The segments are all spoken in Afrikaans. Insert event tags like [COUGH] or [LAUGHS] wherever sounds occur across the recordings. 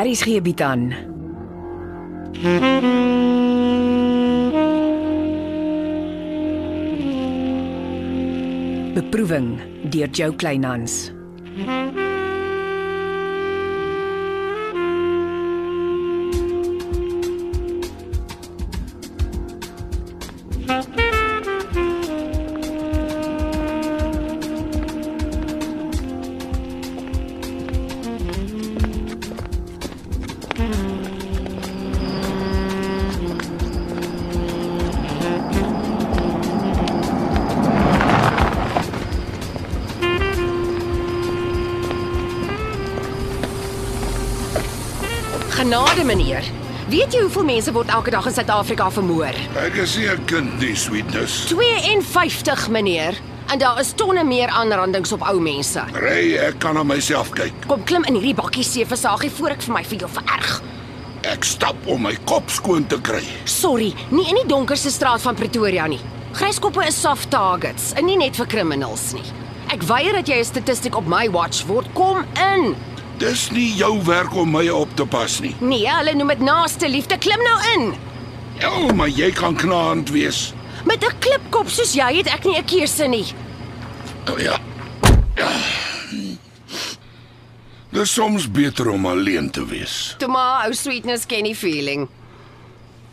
Aries gee bied aan. Beproeving deur Jo Kleinhans. Genade meneer. Weet jy hoeveel mense word elke dag in Suid-Afrika vermoor? Ek is nie 'n kind nie, sweetness. 52 meneer. En daar is tonne meer aanrandings op ou mense. Ry, ek kan na myself kyk. Kom klim in hierdie bakkie seevisaagie voor ek vir my vir jou vererg. Ek stap om my kop skoon te kry. Sorry, nie in die donkerste straat van Pretoria nie. Gryskoppe is soft targets, en nie net vir criminals nie. Ek weier dat jy 'n statistiek op my watch word. Kom in. Dis nie jou werk om my op te pas nie. Nee, hulle noem dit naaste liefde. Klim nou in. Ja, maar jy kan knaand wees. Met 'n klipkop soos jy het ek nie 'n keuse nie. O ja. Dis soms beter om alleen te wees. Toe maar, ou sweetness ken die feeling.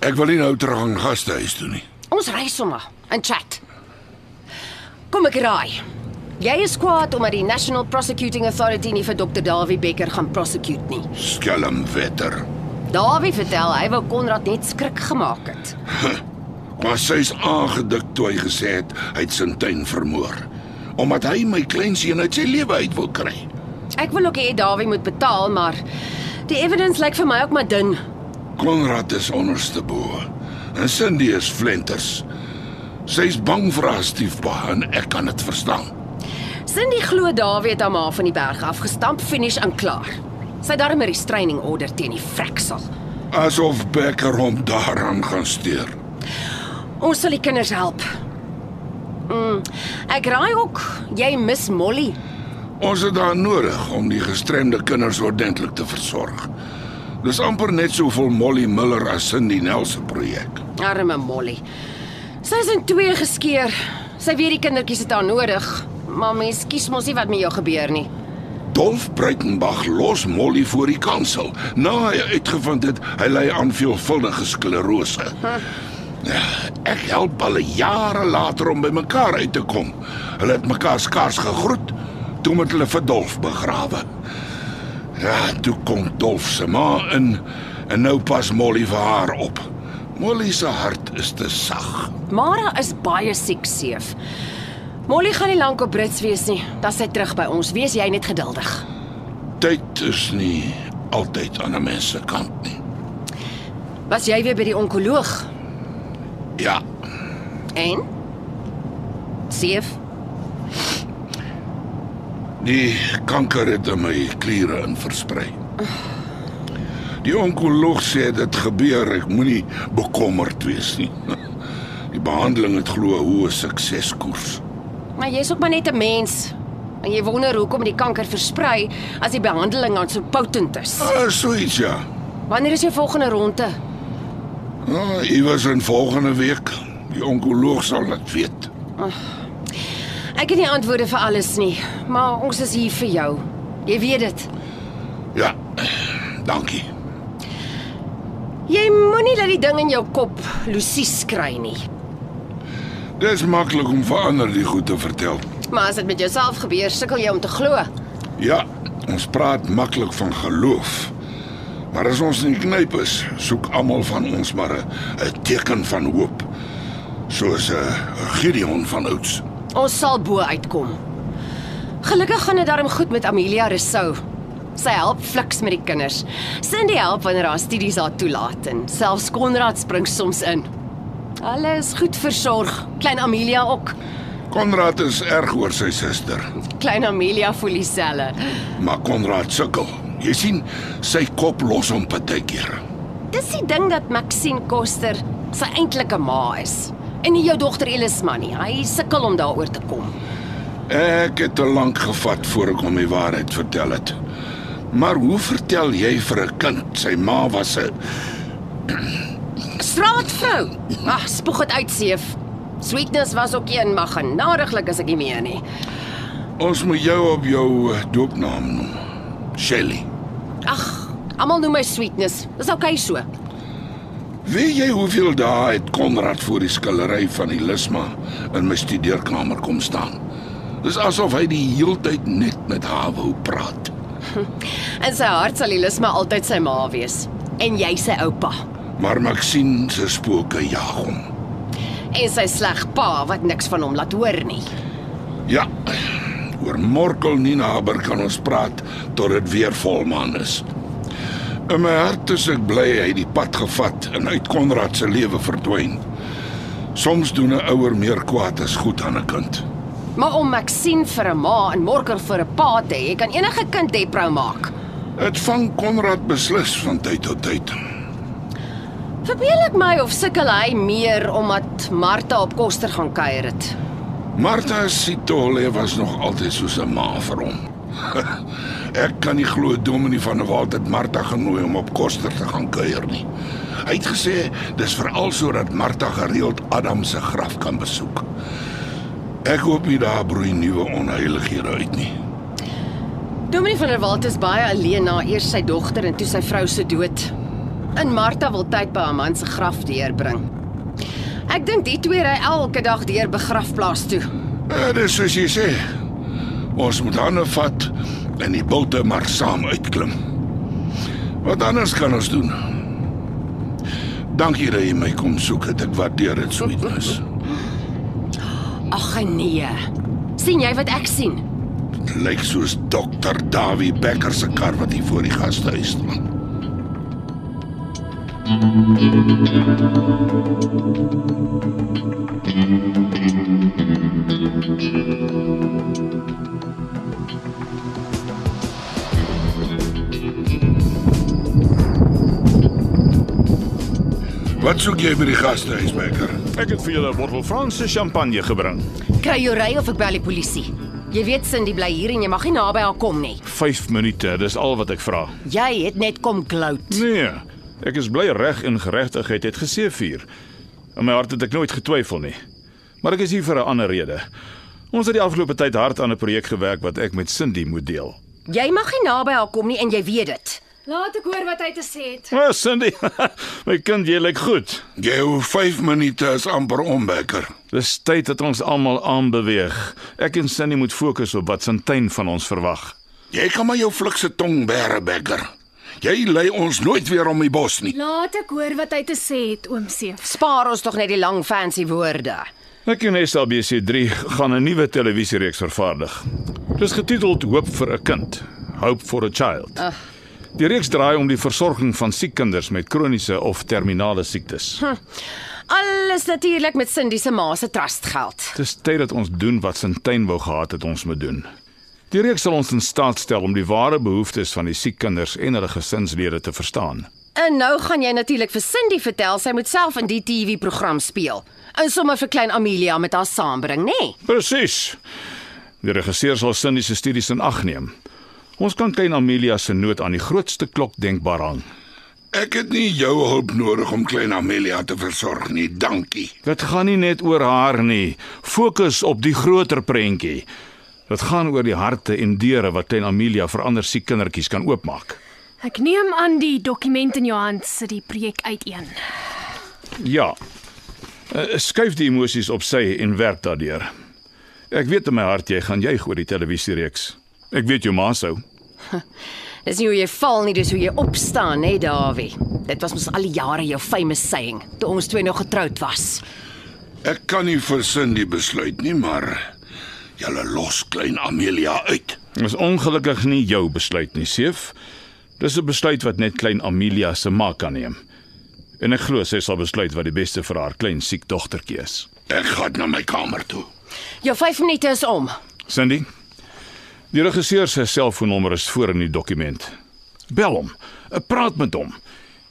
Ek wil nie nou terug aan gastehuis toe nie. Ons ry sommer en chat. Kom ek raai. Jy is kwaad omdat die National Prosecuting Authority nie vir Dr. Dawie Becker gaan prosecute nie. Skelm wetter. Dawie vertel hy wou Konrad net skrik gemaak het. Maar sy's aangedik toe hy gesê het hy het Sintuin vermoor omdat hy my kleinseun uit sy lewe uit wil kry. Ek wil ook hê Dawie moet betaal, maar die evidence lyk vir my ook maar dun. Konrad is onderste bo. En Cindy is flenters. Sy's bang vir haar stiefpa en ek kan dit verstaan. Cindy glo Dawie het haar ma van die berg af gestamp, finish en klaar. Sy het daarmee 'n restraining order teen die freksel. Asof Becker hom daaraan gaan steur. Ons sal die kinders help. Mm, ek raai ook jy mis Molly. Ons het haar nodig om die gestremde kinders ordentlik te versorg. Dis amper net soveel Molly Miller as Cindy Nel se projek. Arme Molly. Sy is in twee geskeur. Sy weet die kindertjies het haar nodig, maar mens kies mos nie wat met jou gebeur nie. Dolf Breitenberg los Molly voor die kansel na hy uitgevind het hy ly aan veelvuldige sklerose. Ja, Ek help hulle jare later om by mekaar uit te kom. Hulle het mekaar skaars gegroet toe moet hulle vir Dolf begrawe. Ja, toe kom Dolf se ma in en nou pas Molly vir haar op. Molly se hart is te sag. Mara is baie siek seef. Molly gaan nie lank op Brits wees nie. Dan sy terug by ons. Wees jy net geduldig. Tyd is nie altyd aan 'n mens se kant nie. Was jy weer by die onkoloog? Ja, En? Seef, Die kanker het in my kliere in versprei. Die onkoloog sê dit gebeur, ek moenie bekommerd wees nie. [LAUGHS] Die behandeling het glo 'n hoë sukseskoers. maar jy's ook maar net 'n mens. En jy wonder hoekom die kanker versprei as die behandeling aan so potent is. Ah, so iets ja. Wanneer is jou volgende ronde? Ah, jy was in volgende week. Die onkoloog sal dit weet. Ek het nie antwoorde vir alles nie, maar ons is hier vir jou. Jy weet dit. Ja. Dankie. Jy moenie dat die ding in jou kop lusies kry nie. Dis maklik om vir ander die goed te vertel. Maar as dit met jouself gebeur, sukkel jy om te glo. Ja, ons praat maklik van geloof. Maar as ons in die knyp is, soek almal van ons maar 'n 'n teken van hoop. Soos 'n uh, Gideon van ouds. Ons sal bo uitkom. Gelukkig gaan dit darm goed met Amelia Rousseau. Sy help fliks met die kinders. Cindy help wanneer haar studies haar toelaat en selfs Konrad spring soms in. Hulle is goed versorg. Klein Amelia ook. Konrad is erg oor sy suster, Klein Amelia voel dieselfde. maar Konrad sukkel. Jy sien, sy kop los hom partykeer. Dis die ding dat Maxine Koster sy eintlike ma is en nie jou dogter Elisma nie. Hy sukkel om daaroor te kom. Ek het te lank gevat voor ek hom die waarheid vertel het. Maar hoe vertel jy vir 'n kind sy ma was 'n Straatvrou. Ag, spoeg dit uit, seef. Sweetness was ook een mag genadiglik as ek nie meer nie. Ons moet jou op jou eh, doopnaam noem. Shelly. Ag, almal noem my Sweetness. Dis okay so. Weet jy hoeveel dae het Konrad voor die skillery van die Lisma in my studeerkamer kom staan? Dis asof hy die heeltyd net met haar wou praat. In sy hart sal Elisma altyd sy ma wees en jy sy oupa. Maar Maxine se spooke jag hom. En sy sleg pa wat niks van hom laat hoor nie. Ja. Oor Morkel nie nader kan ons praat tot dit weer volmaan is. In my hart is ek bly hy het die pad gevat en uit Konrad se lewe verdwyn. Soms doen 'n ouer meer kwaad as goed aan 'n kind. Maar om Maxine vir 'n ma en Morker vir 'n pa te hê, kan enige kind deprou maak. Dit vang Konrad beslis van tyd tot tyd. Verbeel ek my of sukkel hy meer omdat Martha op Koster gaan kuier het. Martha Sitole was nog altyd soos 'n ma vir hom. [LAUGHS] Ek kan nie glo Dominie van der Walt het Martha genooi om op Koster te gaan kuier nie. Hy het gesê dis veral sodat Martha gereeld Adam se graf kan besoek. Ek hoop nie daar broei nuwe onheilighede uit nie. Dominee van der Walt is baie alleen na eers sy dogter en toe sy vrou se dood. En Martha wil tyd by haar man se graf deurbring. Ek dink die twee ry elke dag deur begrafplaas toe. Eh, Dis soos jy sê. Ons moet hande vat en die bulte maar saam uitklim. Wat anders kan ons doen? Dankie dat jy my kom soek. het. Ek waardeer dit sweetness. Ag nee. sien jy wat ek sien? Dit lyk soos dokter Dawie Becker se kar wat hier voor die gastehuis staan. Wat soek jy by die gastehuis Becker? Ek het vir julle 'n bottel Franse champagne gebring. Kry jou ry of ek bel die polisie. Jy weet Cindy bly hier en jy mag nie naby haar kom nie. 5 minute, dis al wat ek vra. Jy het net kom glout. Nee, ek is bly reg en geregtigheid het geseëvier. In my hart het ek nooit getwyfel nie. Maar ek is hier vir 'n ander rede. Ons het die afgelope tyd hard aan 'n projek gewerk wat ek met Cindy moet deel. Jy mag nie naby haar kom nie en jy weet dit. Laat ek hoor wat hy te sê het. O, oh, Cindy, [LAUGHS] my kind, jy lyk goed. Jy hou 5 minute is amper om Becker. Dis tyd dat ons almal aanbeweeg. Ek en Cindy moet fokus op wat Sintyn van ons verwag. Jy kan maar jou flikse tong bære, Becker. Jy lei ons nooit weer om die bos nie. Laat ek hoor wat hy te sê het, oom Seef. Spaar ons tog net die lang fancy woorde. Ek en SABC3 gaan 'n nuwe televisiereeks vervaardig. Dis getiteld Hoop vir 'n kind, Hope for a Child. Ach. Die reeks draai om die versorging van siek kinders met kroniese of terminale siektes. Hm. Alles natuurlik met Cindy se ma se trustgeld. Dis tyd dat ons doen wat Sintyn wou gehad het ons moet doen. Die reeks sal ons in staat stel om die ware behoeftes van die siek kinders en hulle gesinslede te verstaan. En nou gaan jy natuurlik vir Cindy vertel sy moet self in die TV-program speel. En sommer vir klein Amelia met haar saambring, nê? Nee. Presies. Die regisseur sal Cindy se studies in ag neem. Ons kan klein Amelia se nood aan die grootste klok denkbaar hang. Ek het nie jou hulp nodig om klein Amelia te versorg nie, dankie. Dit gaan nie net oor haar nie. Fokus op die groter prentjie. Dit gaan oor die harte en deure wat klein Amelia vir ander siek kindertjies kan oopmaak. Ek neem aan die dokument in jou hand sit die projek uiteen. Ja. Eh, Skuif die emosies op sy en werk daardeur. Ek weet in my hart jy gaan juig oor die televisiereeks. Ek weet jou ma sou. Dis nie hoe jy val nie, dis hoe jy opstaan, nê, Dawie. Dit was mos al die jare jou famous saying toe ons twee nog getroud was. Ek kan nie vir Cindy besluit nie, maar julle los klein Amelia uit. Dit is ongelukkig nie jou besluit nie, Seef. Dis 'n besluit wat net klein Amelia se ma kan neem. En ek glo sy sal besluit wat die beste vir haar klein siek dogtertjie is. Ek gaan na my kamer toe. Jou 5 minute is om. Sandy. Die regisseur se selfoonnommer is voor in die dokument. Bel hom. eh, Praat met hom.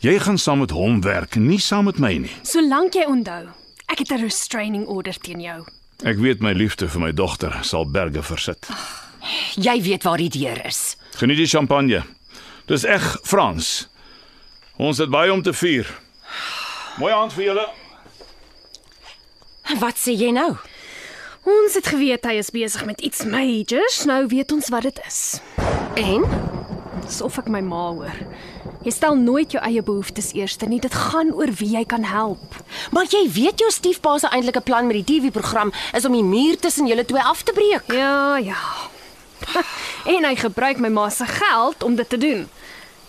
Jy gaan saam met hom werk, nie saam met my nie. Solank jy onthou, ek het 'n restraining order teen jou. Ek weet my liefde vir my dogter sal berge versit. Jy weet waar die deur is. Geniet die champagne. Dis eg Frans. Ons het baie om te vier. Mooi aand vir julle. Wat sê jy nou? Ons het geweet hy is besig met iets majors. Nou weet ons wat dit is. En Dis of ek my ma hoor. Jy stel nooit jou eie behoeftes eerste nie. Dit gaan oor wie jy kan help. maar jy weet jou stiefpa se eintlike plan met die TV-program is om die muur tussen julle twee af te breek. Ja, ja. [LAUGHS] en hy gebruik my ma se geld om dit te doen.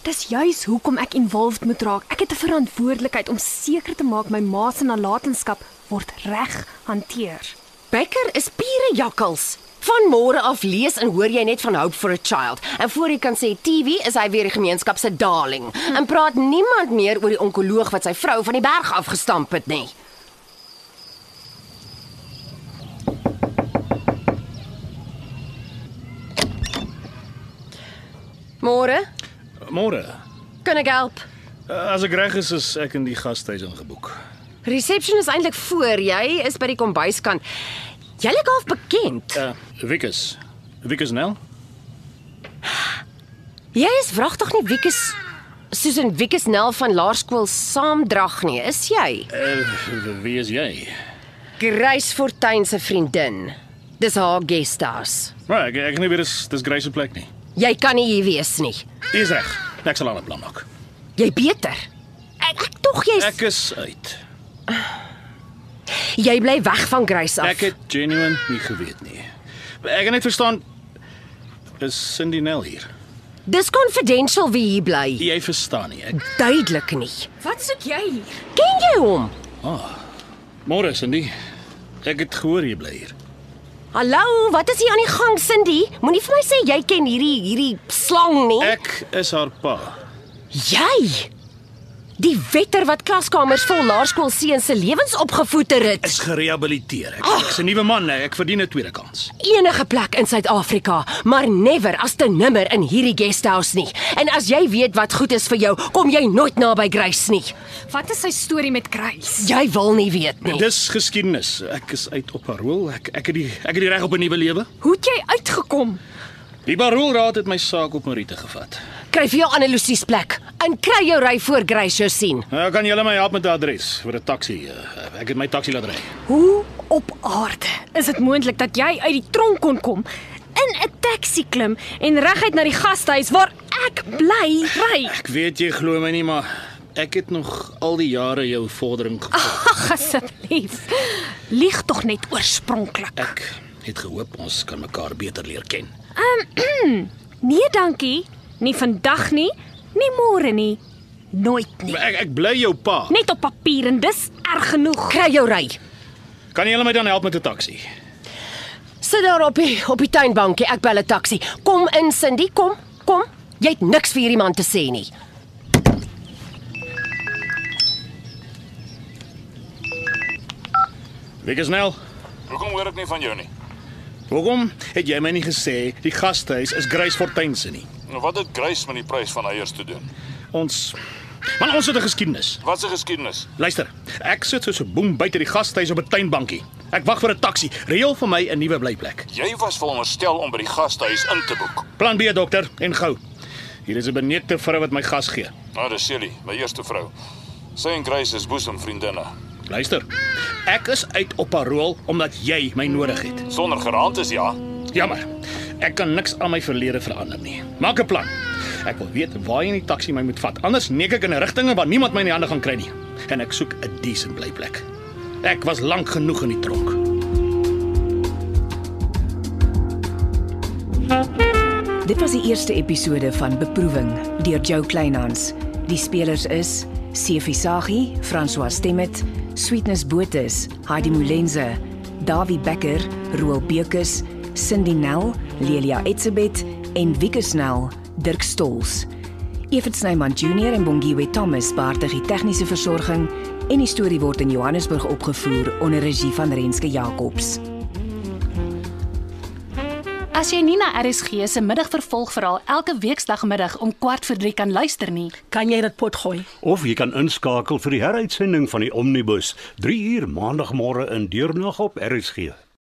Dis juis hoekom ek involved moet raak. Ek het 'n verantwoordelikheid om seker te maak my ma se nalatenskap word reg hanteer. Becker is pure jakkals. Van môre af lees en hoor jy net van Hope for a Child. En voor jy kan sê TV is hy weer die gemeenskap se darling. Hm. En praat niemand meer oor die onkoloog wat sy vrou van die berg af gestamp het nie. Môre, Môre. Eh, kan ek help? As ek reg is, is ek in die gastehuis ingeboek. Reception is eintlik voor jy is by die kombuiskant. Jy lyk half bekend. Uh, Wikus. Wikus Nel? Jy is wragtig nie Wikus Susan Wikus Nel van Laerskool Saamdrag nie, is jy? Uh, wie is jy? Grace Fortuin se vriendin. Dis haar guesthouse. Maar ek ek nie weet dis dis Grace se plek nie. Jy kan nie hier wees nie. Jy is reg. Ek sal aan 'n plan maak. Jy beter. Ek ek tog jy's Ek is uit. jy bly weg van Grace af. Ek het genuine nie geweet nie. Ek kan net verstaan is Cindy Nel hier. Dis confidential wie hier bly. Jy verstaan nie. Ek Duidelik nie. Wat soek jy hier? Ken jy hom? Môre Cindy. Ek het gehoor jy bly hier. Hallo, wat is hier aan die gang Cindy? Moenie vir my sê jy ken hierdie hierdie slang nie. Ek is haar pa. Jy. Die wetter wat klaskamers vol laerskoolseuns se lewens opgevoed het. Is gerehabiliteer. Ek, ek is 'n nuwe man, ek verdien 'n tweede kans. enige plek in Suid-Afrika, maar never as te nimmer in hierdie guesthouse nie. En as jy weet wat goed is vir jou, kom jy nooit naby Grace nie. Wat is sy storie met Grace? Jy wil nie weet nie. Dis geskiedenis. Ek is uit op parol. Ek ek het die ek het die reg op 'n nuwe lewe. Hoe het jy uitgekom? Die paroolraad het my saak op Marite gevat. Kry vir jou Annelosie se plek en kry jou ry voor Grace jou sien. Nou kan julle my help met 'n adres vir 'n taxi. Eh, Ek het my taxi laat ry. Hoe op aarde is dit moontlik dat jy uit die tronk kon kom, in 'n taxi klim en reguit na die gastehuis waar ek bly ry? Ek weet jy glo my nie, maar ek het nog al die jare jou vordering gevolg. Ag asseblief. Lieg tog net oorspronklik. Ek het gehoop ons kan mekaar beter leer ken. Nee, dankie. Nie vandag nie, nie môre nie, nooit nie. Maar ek ek bly jou pa. Net op papier en dis erg genoeg. Kry jou ry. Kan julle my dan help met 'n taxi? Sit daar op die op die tuinbankie. Ek bel 'n taxi. Kom in Cindy, kom. Kom. Jy het niks vir hierdie man te sê nie. Wie is nou? Hoekom hoor ek nie van jou nie? Hoekom het jy my nie gesê die gastehuis is Grace Fortuin se nie? Nou wat het Grace met die prys van eiers te doen? Ons Man, ons het 'n geskiedenis. Wat se geskiedenis? Luister, ek sit soos 'n boem buite die gastehuis op 'n tuinbankie. Ek wag vir 'n taxi. Reël vir my 'n nuwe blyplek. Jy was veronderstel om by die gastehuis in te boek. Plan B, dokter, en gou. Hier is 'n beneekte vrou wat my gas gee. Nou, dis Shelly, my eerste vrou. Sy en Grace is boesemvriendinne. Luister. Ek is uit op parol omdat jy my nodig het. Sonder geraamd is ja. Jammer. Ek kan niks aan my verlede verander nie. Maak 'n plan. Ek wil weet waar jy in die taxi my moet vat. Anders neek ek in 'n rigting waar niemand my in die hande gaan kry nie. En ek soek 'n decent blyplek. Ek was lank genoeg in die tronk. Dit was die eerste episode van Beproewing deur Jo Kleinhans. Die spelers is Sefi Saghi, François Stemmet, Sweetness Botha, Heidi Molenze, Dawie Becker, Roel Bekus, Cindy Nel, Lelia Etsebet en Wieke Snell, Dirk Stols. Evert Snyman Junior en Bongwe Thomas baartig die tegniese versorging en die storie word in Johannesburg opgevoer onder regie van Renske Jacobs. As jy Nina RSG se middagvervolgverhaal elke weekdagmiddag om 14:15 kan luister nie, Kan jy dit pot gooi? Of jy kan inskakel vir die heruitsending van die Omnibus 3 uur maandagmôre in deurnag op RSG.